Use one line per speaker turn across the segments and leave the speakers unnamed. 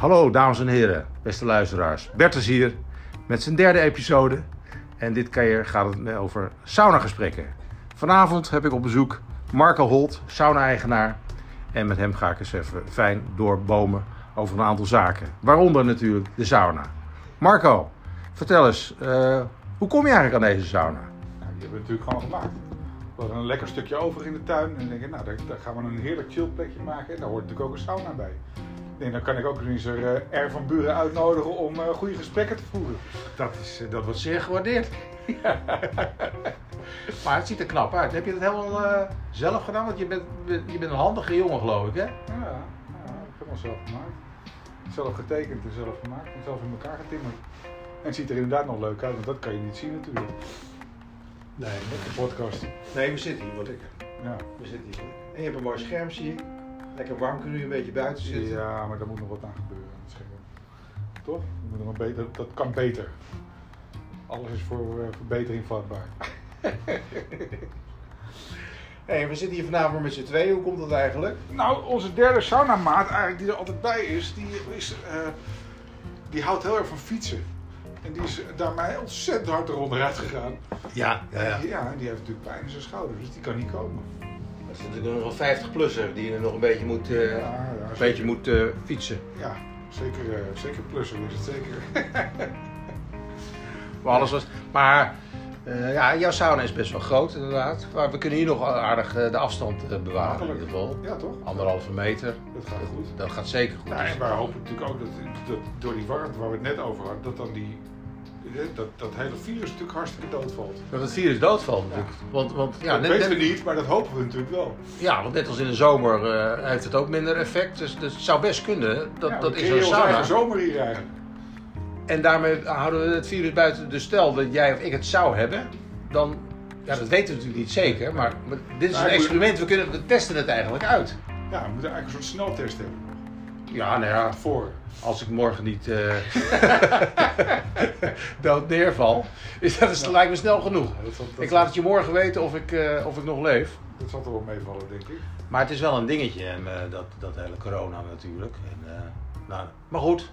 Hallo dames en heren, beste luisteraars. Bert is hier met zijn derde episode. En dit keer gaat het over saunagesprekken. Vanavond heb ik op bezoek Marco Holt, sauna-eigenaar. En met hem ga ik eens even fijn doorbomen over een aantal zaken. Waaronder natuurlijk de sauna. Marco, vertel eens, eh, hoe kom je eigenlijk aan deze sauna?
Nou, die hebben we natuurlijk gewoon gemaakt. We hadden een lekker stukje over in de tuin en denken, nou, daar, daar gaan we een heerlijk chill plekje maken. En daar hoort natuurlijk ook een sauna bij. Ik denk, dan kan ik ook eens er, eh, R van Buren uitnodigen om eh, goede gesprekken te voeren.
Dat, is, eh, dat wordt zeer gewaardeerd. maar het ziet er knap uit. Heb je dat helemaal eh, zelf gedaan? Want je bent, je bent een handige jongen, geloof ik, hè?
Ja, ja ik heb hem zelf gemaakt. Zelf getekend en zelf gemaakt en zelf in elkaar getimmerd. En het ziet er inderdaad nog leuk uit, want dat kan je niet zien natuurlijk.
Nee,
De podcast.
nee, we zitten hier wat lekker.
Ja.
We zitten hier. En je hebt een mooi scherm, zie ik. Lekker warm kunnen we een beetje buiten zitten.
ja, maar daar moet nog wat aan gebeuren. Dat is geen- Toch? Dat, moet nog een beter, dat kan beter. Alles is voor eh, verbetering vatbaar.
Hey, we zitten hier vanavond met z'n tweeën. Hoe komt dat eigenlijk?
Nou, onze derde saunamaat eigenlijk die er altijd bij is, die, is, eh, die houdt heel erg van fietsen. En die is daarmee ontzettend hard eronder gegaan.
Ja, ja, ja.
Ja, en die heeft natuurlijk pijn in zijn schouder, dus die kan niet komen.
Dat is natuurlijk nog een 50 plusser die er nog een beetje moet, eh,
ja, ja,
Een beetje moet eh, fietsen.
ja zeker, eh, zeker plussen is het zeker.
Maar, alles was, maar eh, ja, jouw sauna is best wel groot, inderdaad. Maar we kunnen hier nog aardig eh, de afstand eh, bewaren, in ieder geval.
Ja, toch?
Anderhalve meter,
Dat gaat goed.
dat gaat zeker goed.
Nou, en wij hopen natuurlijk ook dat, dat door die warmte waar we het net over hadden, dat dan die, eh, dat, dat hele virus natuurlijk hartstikke doodvalt.
Dat het virus doodvalt natuurlijk. Want, want, ja,
dat
net,
weten
net-
we niet, maar dat hopen we natuurlijk wel.
ja, want net als in de zomer eh, heeft het ook minder effect. Dus, dus het zou best kunnen. Dat,
Ja,
dat
we
is
creëren
een
onze
sauna.
eigen zomer hier eigenlijk.
En daarmee houden we het virus buiten. Dus stel dat jij of ik het zou hebben, dan. Ja, dat weten we natuurlijk niet zeker. Maar, maar dit is
Nou,
een
ik moet-
experiment. We, kunnen, we testen het eigenlijk uit.
Ja, we moeten eigenlijk een soort sneltest hebben.
Ja, nou ja,
Voor.
als ik morgen niet eh dood neerval, is dat is, lijkt me snel genoeg.
dat, zal, dat,
Ik laat het je morgen weten of ik, eh, of ik nog leef.
dat zal toch wel meevallen, denk ik.
Maar het is wel een dingetje, en, eh, dat, dat hele corona natuurlijk. En, eh, nou, maar goed,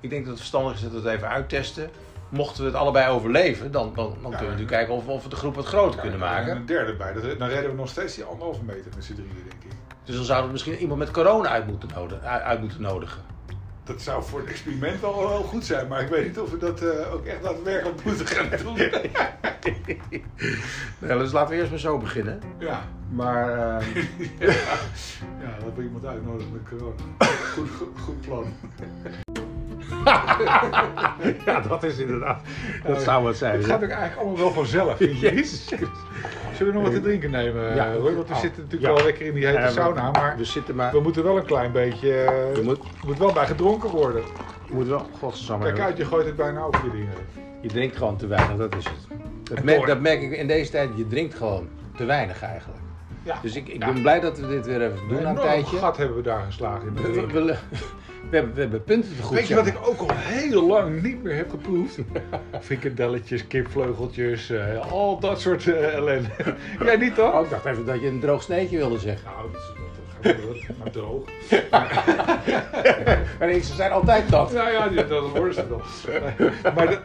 ik denk dat het verstandig is dat we het even uittesten. Mochten we het allebei overleven, dan, dan, dan kunnen we natuurlijk kijken of, of we de groep wat groter kunnen
En
maken.
een derde bij. Dat, dan redden we nog steeds die anderhalve meter met z'n drieën, denk ik.
Dus dan zouden we misschien iemand met corona uit moeten, noden, uit uit moeten nodigen.
Dat zou voor het experiment wel heel goed zijn, maar ik weet niet of we dat eh, ook echt daadwerkelijk moeten gaan doen.
Nou, dus laten we eerst maar zo beginnen.
Ja,
Maar eh,
ja dat we iemand uitnodigen met corona. Goed, goed, goed plan.
ja, dat is inderdaad. dus Dat zou wat zijn.
Eh, Het gaat ook eigenlijk allemaal wel vanzelf. vind je?
Jezus
Zullen we nog wat te drinken nemen?
Ja.
Ja, want we
Oh.
zitten natuurlijk
Ja.
wel lekker in die hete sauna, maar
We zitten maar.
we moeten wel een klein beetje. eh,
Je moet,
er moet wel bij gedronken worden.
je moet wel. Godsamme.
Kijk uit, je gooit het bijna over je dingen.
Je drinkt gewoon te weinig, dat is het. Dat merk, dat merk ik in deze tijd. Je drinkt gewoon te weinig eigenlijk.
Ja.
Dus ik, ik
Ja.
ben blij dat we dit weer even doen na nou een
enorm
tijdje.
gat hebben we daar geslagen in de
We, we,
drink.
we- we hebben, we hebben punten te goed.
Weet je wat ik ook al heel lang niet meer heb geproefd? Frikandelletjes, kipvleugeltjes, eh, al dat soort eh, ellende. Jij niet toch?
Oh, ik dacht even dat je een droog sneetje wilde zeggen.
Nou, dat is- dat gaat wel, maar droog.
Maar nee, ze zijn altijd dat.
Nou ja, die- dat worden ze dan. Maar dat,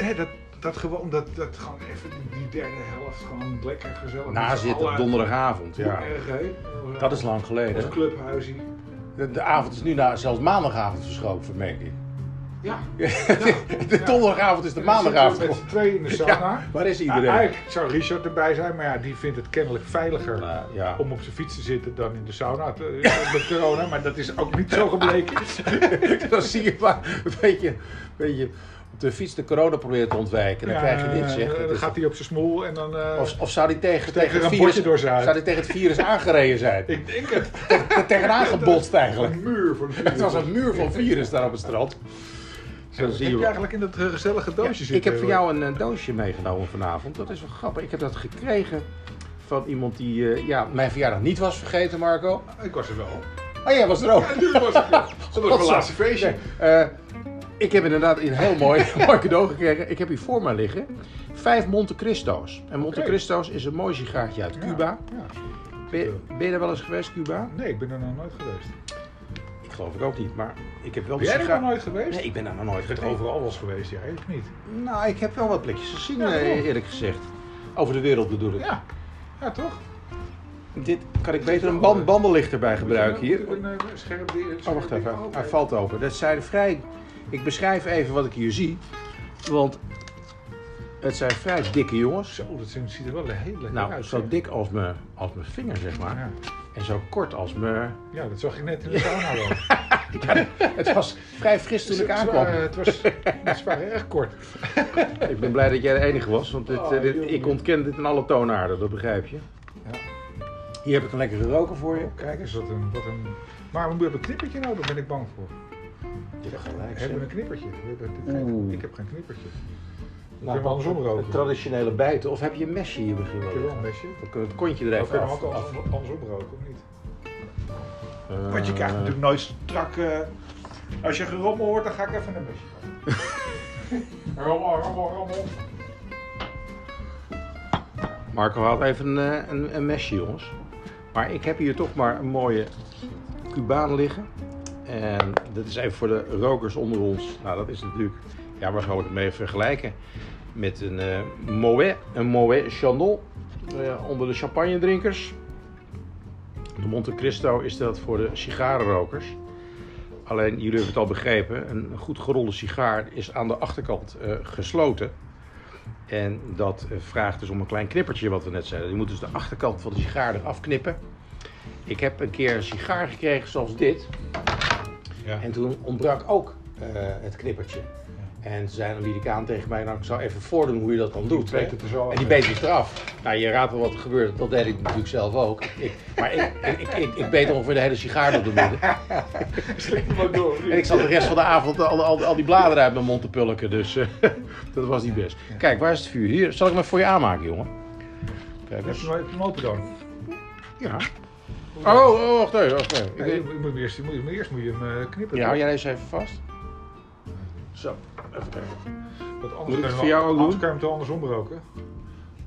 nee, dat, dat gewoon, dat, dat gewoon even die, die derde helft gewoon lekker gezellig.
Na zit op
donder.
donderdagavond.
Ja.
Ja. Dat is lang
Ons
geleden.
clubhuisje.
De, de avond is nu naar, zelfs maandagavond verschoven, merk ik.
Ja.
De donderdagavond is de maandagavond.
Met z'n tweeën in de sauna.
Waar is
Nou,
iedereen?
eigenlijk zou Richard erbij zijn, maar ja, die vindt het kennelijk veiliger
Nou, ja.
om op zijn fiets te zitten dan in de sauna te- met corona. Maar dat is ook niet zo gebleken.
Dan zie je maar een beetje, een beetje op de fiets de corona proberen te ontwijken. Dan
Ja,
krijg je dit zeg. Dat
eh, Dan
is-
gaat hij op zijn smoel en dan... eh,
Of, of zou die tegen, tegen,
een
het
bordje
virus,
door zijn huid.
zou die tegen het virus aangereden zijn?
ik denk het.
Er tegenaan gebotst eigenlijk.
Een muur voor de
Het was een muur van virus daar op het strand. Zo
Heb
zie
je
je.
eigenlijk in dat eh, gezellige doosje zitten?
Ik heb voor jou een, eh, doosje meegenomen vanavond. Dat is wel grappig. Ik heb dat gekregen van iemand die eh, ja, mijn verjaardag niet was vergeten, Marco.
Ik was er wel.
Oh, jij was er ook.
Ja, natuurlijk was ik er. Dat was mijn laatste feestje.
Eh, ik heb inderdaad een heel mooi, mooi cadeau gekregen. Ik heb hier voor mij liggen vijf Monte Cristo's. En Monte
Oké.
Cristo's is een mooi sigaartje uit Cuba.
Ja.
Ben, je- ben je daar wel eens geweest, Cuba?
Nee, ik ben er nog nooit geweest.
Ik geloof ik ook niet. Maar ik heb wel
Ben
de
jij er
sigaar-
nog nooit geweest?
Nee, ik ben daar nog
Ik
nooit
ben
geweest.
overal was geweest, ja, ik niet.
Nou, ik heb wel wat plekjes gezien,
Ja,
eh,
toch?
eerlijk gezegd. Over de wereld bedoel ik.
Ja, ja toch?
Dit kan ik beter een
eh,
band, bandenlicht erbij gebruiken
Moet je
hier.
nou- Een, eh, scherp die- een
Oh,
scherp
wacht
ding-
even.
Oh,
Hij
oké.
valt open. Dat zijn vrij... Ik beschrijf even wat ik hier zie. Want het zijn vrij dikke jongens.
Zo, dat ziet er wel heel lekker
Nou,
uit.
zo
zeg.
dik als mijn, als mijn vinger, zeg maar.
Ja.
En zo kort als mijn...
ja, dat zag ik net in de sauna wel.
Het was vrij fris toen ik
Het
aankwam.
waren- Het was, het waren erg kort.
Ik ben blij dat jij de enige was, want dit,
Oh,
eh, dit-
jongen.
ik ontken dit in alle toonaarden, dat begrijp je.
Ja.
Hier heb ik een lekkere roker voor je.
Kijk eens, wat een, wat een... Maar we hebben een knippertje nodig, daar ben ik bang voor.
Je hebt
We
gelijk.
hebben een knippertje. We hebben geen-
Oeh.
ik heb geen knippertje. kunnen we andersom roken.
Het Nou, traditionele bijten, of heb je een mesje hier misschien
Ik
wel?
heb wel
liggen?
een mesje.
Dan kunnen we het kontje er
We
even
Oh, kunnen
af.
ook anders- andersom roken, of niet?
Eh,
Want je krijgt natuurlijk nooit strak... eh, als je gerommel hoort, dan ga ik even een mesje pakken. rommel, rommel, rommel.
Marco haalt even een, eh, een, een mesje, jongens. Maar ik heb hier toch maar een mooie Cubaan liggen. En dat is even voor de rokers onder ons. Nou, dat is natuurlijk... Ja, waar zal ik het mee vergelijken? Met een eh Moet, een Moet Chandon eh, onder de champagne drinkers. De Monte Cristo is dat voor de sigarenrokers. Alleen, jullie hebben het al begrepen, een goed gerolde sigaar is aan de achterkant eh, gesloten. En dat eh, vraagt dus om een klein knippertje, wat we net zeiden. Je moet dus de achterkant van de sigaar eraf knippen. Ik heb een keer een sigaar gekregen zoals dit.
Ja.
En toen ontbrak ook eh, het knippertje. En toen zei een Amerikaan tegen mij, nou ik zou even voordoen hoe je dat dan doet.
beet
hè.
het er zo af,
en die
hè.
beet het eraf. Nou je raadt wel wat er gebeurt, dat deed ik natuurlijk zelf ook. Ik, maar ik, ik, ik, ik, ik beet ongeveer de hele sigaar door de midden.
Slik maar door.
En ik zat de rest van de avond al, al, al die bladeren uit mijn mond te pulken, dus eh, dat was niet best. Kijk, waar is het vuur? Hier, zal ik hem even voor je aanmaken, jongen? Kijk
Heb
eens.
je nooit een open dan?
Ja. Oh, oh, wacht even, wacht even.
Nee, je
Ik-
moet hem eerst, je moet hem, eerst moet je hem eh, knippen.
Ja,
toch?
hou jij deze even vast? Zo, even kijken.
Want anders
Moet ik
kan
het
je
voor
wel-
jou ook
anders
doen?
kan je hem toch andersom roken.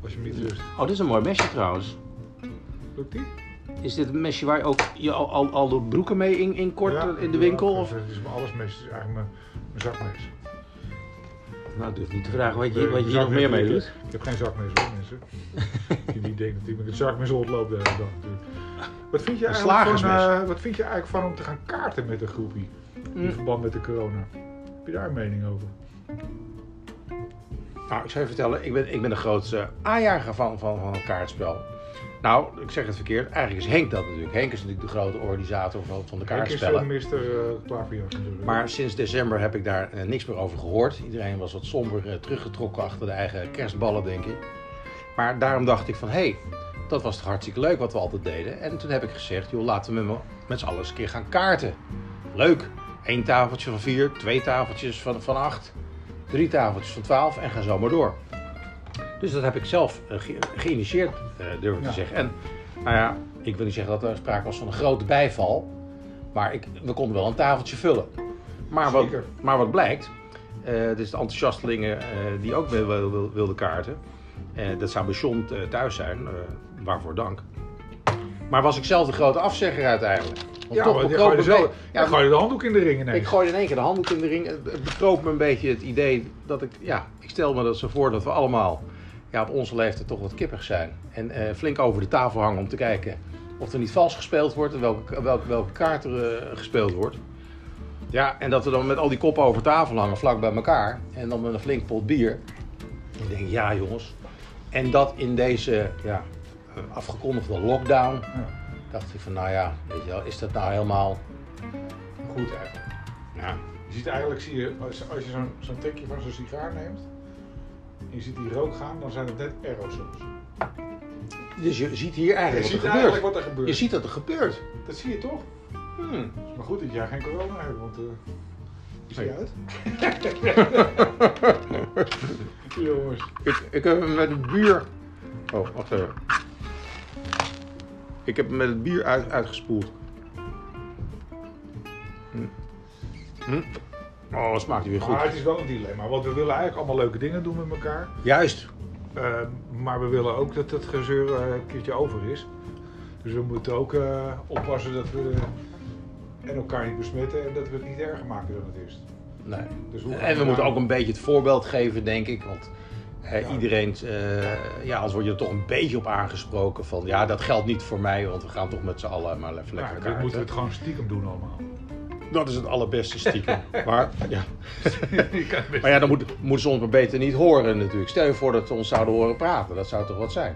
Als je hem niet rust.
Oh, dit is een mooi mesje trouwens.
Lukt die?
Is dit een mesje waar je ook je al, al, al de broeken mee in, in kort
Ja,
in de winkel?
ja,
Of?
Het is mijn allesmes, het is eigenlijk mijn, mijn zakmes.
Nou, durf niet te vragen wat
Eh,
je, wat je
mijn
hier nog
zakmes
meer mee
doe ik-
doet.
Ik heb geen zakmes hoor, mensen. Die niet denken dat ik met het zakmes rondloop de hele dag natuurlijk. Wat vind, je
Een
eigenlijk van,
slagersmes.
eh, wat vind je eigenlijk van om te gaan kaarten met een groepie? In
Mm.
verband met de corona. Heb je daar een mening over?
Nou, ik zou je vertellen, ik ben, ik ben de grootste aanjager van, van, van een kaartspel. Nou, ik zeg het verkeerd. Eigenlijk is Henk dat natuurlijk. Henk is natuurlijk de grote organisator van, van de
Henk is
kaartspellen.
zo'n mister uh, klaverjas natuurlijk.
Maar sinds december heb ik daar eh, niks meer over gehoord. Iedereen was wat somber eh, teruggetrokken achter de eigen kerstballen, denk ik. Maar daarom dacht ik van, hé, hey, dat was toch hartstikke leuk wat we altijd deden. En toen heb ik gezegd, joh, laten we met, me- met z'n allen eens een keer gaan kaarten. Leuk. Eén tafeltje van vier, twee tafeltjes van, van acht, drie tafeltjes van twaalf en ga zo maar door. Dus dat heb ik zelf eh, ge- geïnitieerd, eh, durf ik
Ja.
te zeggen. En nou ja, ik wil niet zeggen dat er sprake was van een grote bijval. Maar ik, we konden wel een tafeltje vullen. Maar wat,
Zeker.
maar wat blijkt, eh dus de enthousiastelingen eh, die ook wel- wel- wel- wilden kaarten, eh, dat zou bij John eh, thuis zijn, eh, waarvoor dank. Maar was ik zelf de grote afzegger uiteindelijk. Want
ja, toch, je
bekroop
gooit er
me-
zo,
ja,
dan gooi je de handdoek in de ring ineens.
ik gooide in één keer de handdoek in de ring. Het het bekroop me een beetje het idee dat ik, ja, ik stel me dat zo voor dat we allemaal ja, op onze leeftijd toch wat kippig zijn. En eh, flink over de tafel hangen om te kijken of er niet vals gespeeld wordt en welke, welke, welke kaart er eh, gespeeld wordt. Ja, en dat we dan met al die koppen over tafel hangen, vlak bij elkaar. En dan met een flink pot bier. Ik denk, ja jongens. En dat in deze ja, afgekondigde lockdown.
Ja.
Dacht ik van, nou ja, weet je wel, is dat nou helemaal goed eigenlijk? Ja.
Je ziet eigenlijk, zie je, als, als je zo'n zo'n tikje van zo'n sigaar neemt, en je ziet die rook gaan, dan zijn het net aerosols.
Dus je ziet hier
Je
eigenlijk
ziet
wat er gebeurt.
eigenlijk wat er gebeurt. Hmm.
Je ziet dat er gebeurt.
Dat zie je toch? Het is maar goed dat jij geen corona hebt, want... eh zie je
Nee.
uit? Jongens.
Ik, ik heb hem met het bier... Oh, wacht even. Ik heb hem met het bier uit, uitgespoeld. Hm. Hm. Oh, dat smaakt weer goed.
Maar het is wel een dilemma, want we willen eigenlijk allemaal leuke dingen doen met elkaar.
Juist.
eh, maar we willen ook dat dat gezeur eh, een keertje over is. Dus we moeten ook eh, oppassen dat we en elkaar niet besmetten en dat we het niet erger maken dan het is.
Nee.
Dus hoe gaan
En we
daar-
moeten ook een beetje het voorbeeld geven, denk ik. Want eh,
Ja.
iedereen, eh ja, anders word je er toch een beetje op aangesproken van... ja, dat geldt niet voor mij, want we gaan toch met z'n allen maar even
Ja,
lekker
dit
kaarten.
moeten we het gewoon stiekem doen allemaal.
Dat is het allerbeste stiekem. maar, ja.
Je kan het best-
maar ja, dan moet- moeten ze ons maar beter niet horen natuurlijk. Stel je voor dat ze ons zouden horen praten, dat zou toch wat zijn?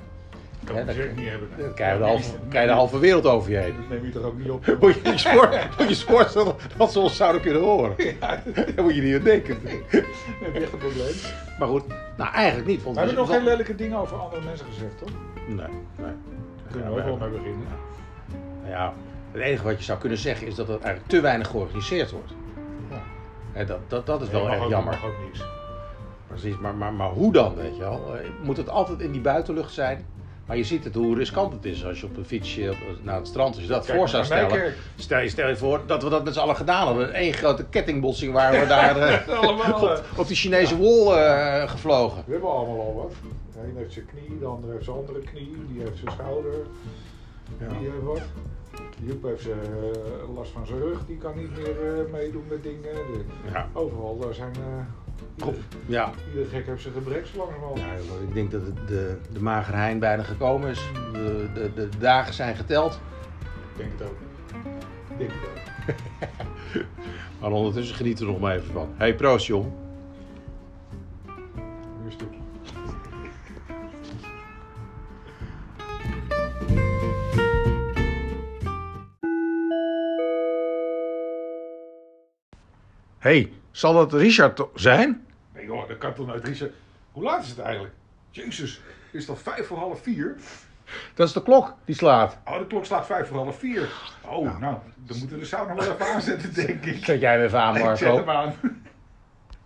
kan
hè,
het
dat-
zeker niet hebben.
Dan krijg je de halve, krijg je de halve wereld over je heen.
Dat neem je toch ook niet op.
Moet je je sport, moet je sport dat, dat ze ons zouden kunnen horen. Dan moet je niet aan denken.
Dan heb je echt een probleem.
Maar goed, nou eigenlijk niet. Want
We hebben
we-
nog geen lelijke dingen over andere mensen gezegd, toch?
Nee, nee.
Daar kunnen
Ja,
we
we-
ook wel mee beginnen.
Nou ja, het enige wat je zou kunnen zeggen is dat er eigenlijk te weinig georganiseerd wordt.
Ja.
En dat, dat, dat is
Nee,
wel
mag
erg
ook-
jammer.
Mag ook niks.
Precies, maar, maar, maar hoe dan, weet je wel? Eh, Moet het altijd in die buitenlucht zijn? Maar je ziet het hoe riskant het is als je op een fietsje op- naar het strand, als je dat
Kijk
voor
maar
zou
naar mijn
stellen.
kerk.
Stel je, stel je voor dat we dat met z'n allen gedaan hadden. Eén grote kettingbotsing waren we daar eh,
Allemaal. eh,
op die Chinese wol eh, gevlogen.
We hebben allemaal al wat. De een heeft zijn knie, de ander heeft zijn andere knie, die heeft zijn schouder, die heeft wat. Joep heeft zijn, eh, last van zijn rug, die kan niet meer eh, meedoen met dingen. De-
Ja.
overal daar zijn. eh, ieder,
ja.
ieder gek heeft zijn gebrek zo langzamerhand.
Ja, joh, ik denk dat het de, de magere hein bijna gekomen is. De, de, de dagen zijn geteld.
Ik denk het ook. Ik denk het ook.
Maar ondertussen genieten we er nog maar even van. Hey, proost jong.
Nu is het op.
hey, zal dat Richard to- zijn?
Nee joh, dat kan toch nooit Richard. Hoe laat is het eigenlijk? Jezus, is het al vijf voor half vier?
Dat is de klok die slaat.
Oh, de klok slaat vijf voor half vier. Oh, nou, dan moeten we de sauna wel even aanzetten, denk ik.
Zet jij weer aan,
Ik zet
Marco.
hem aan.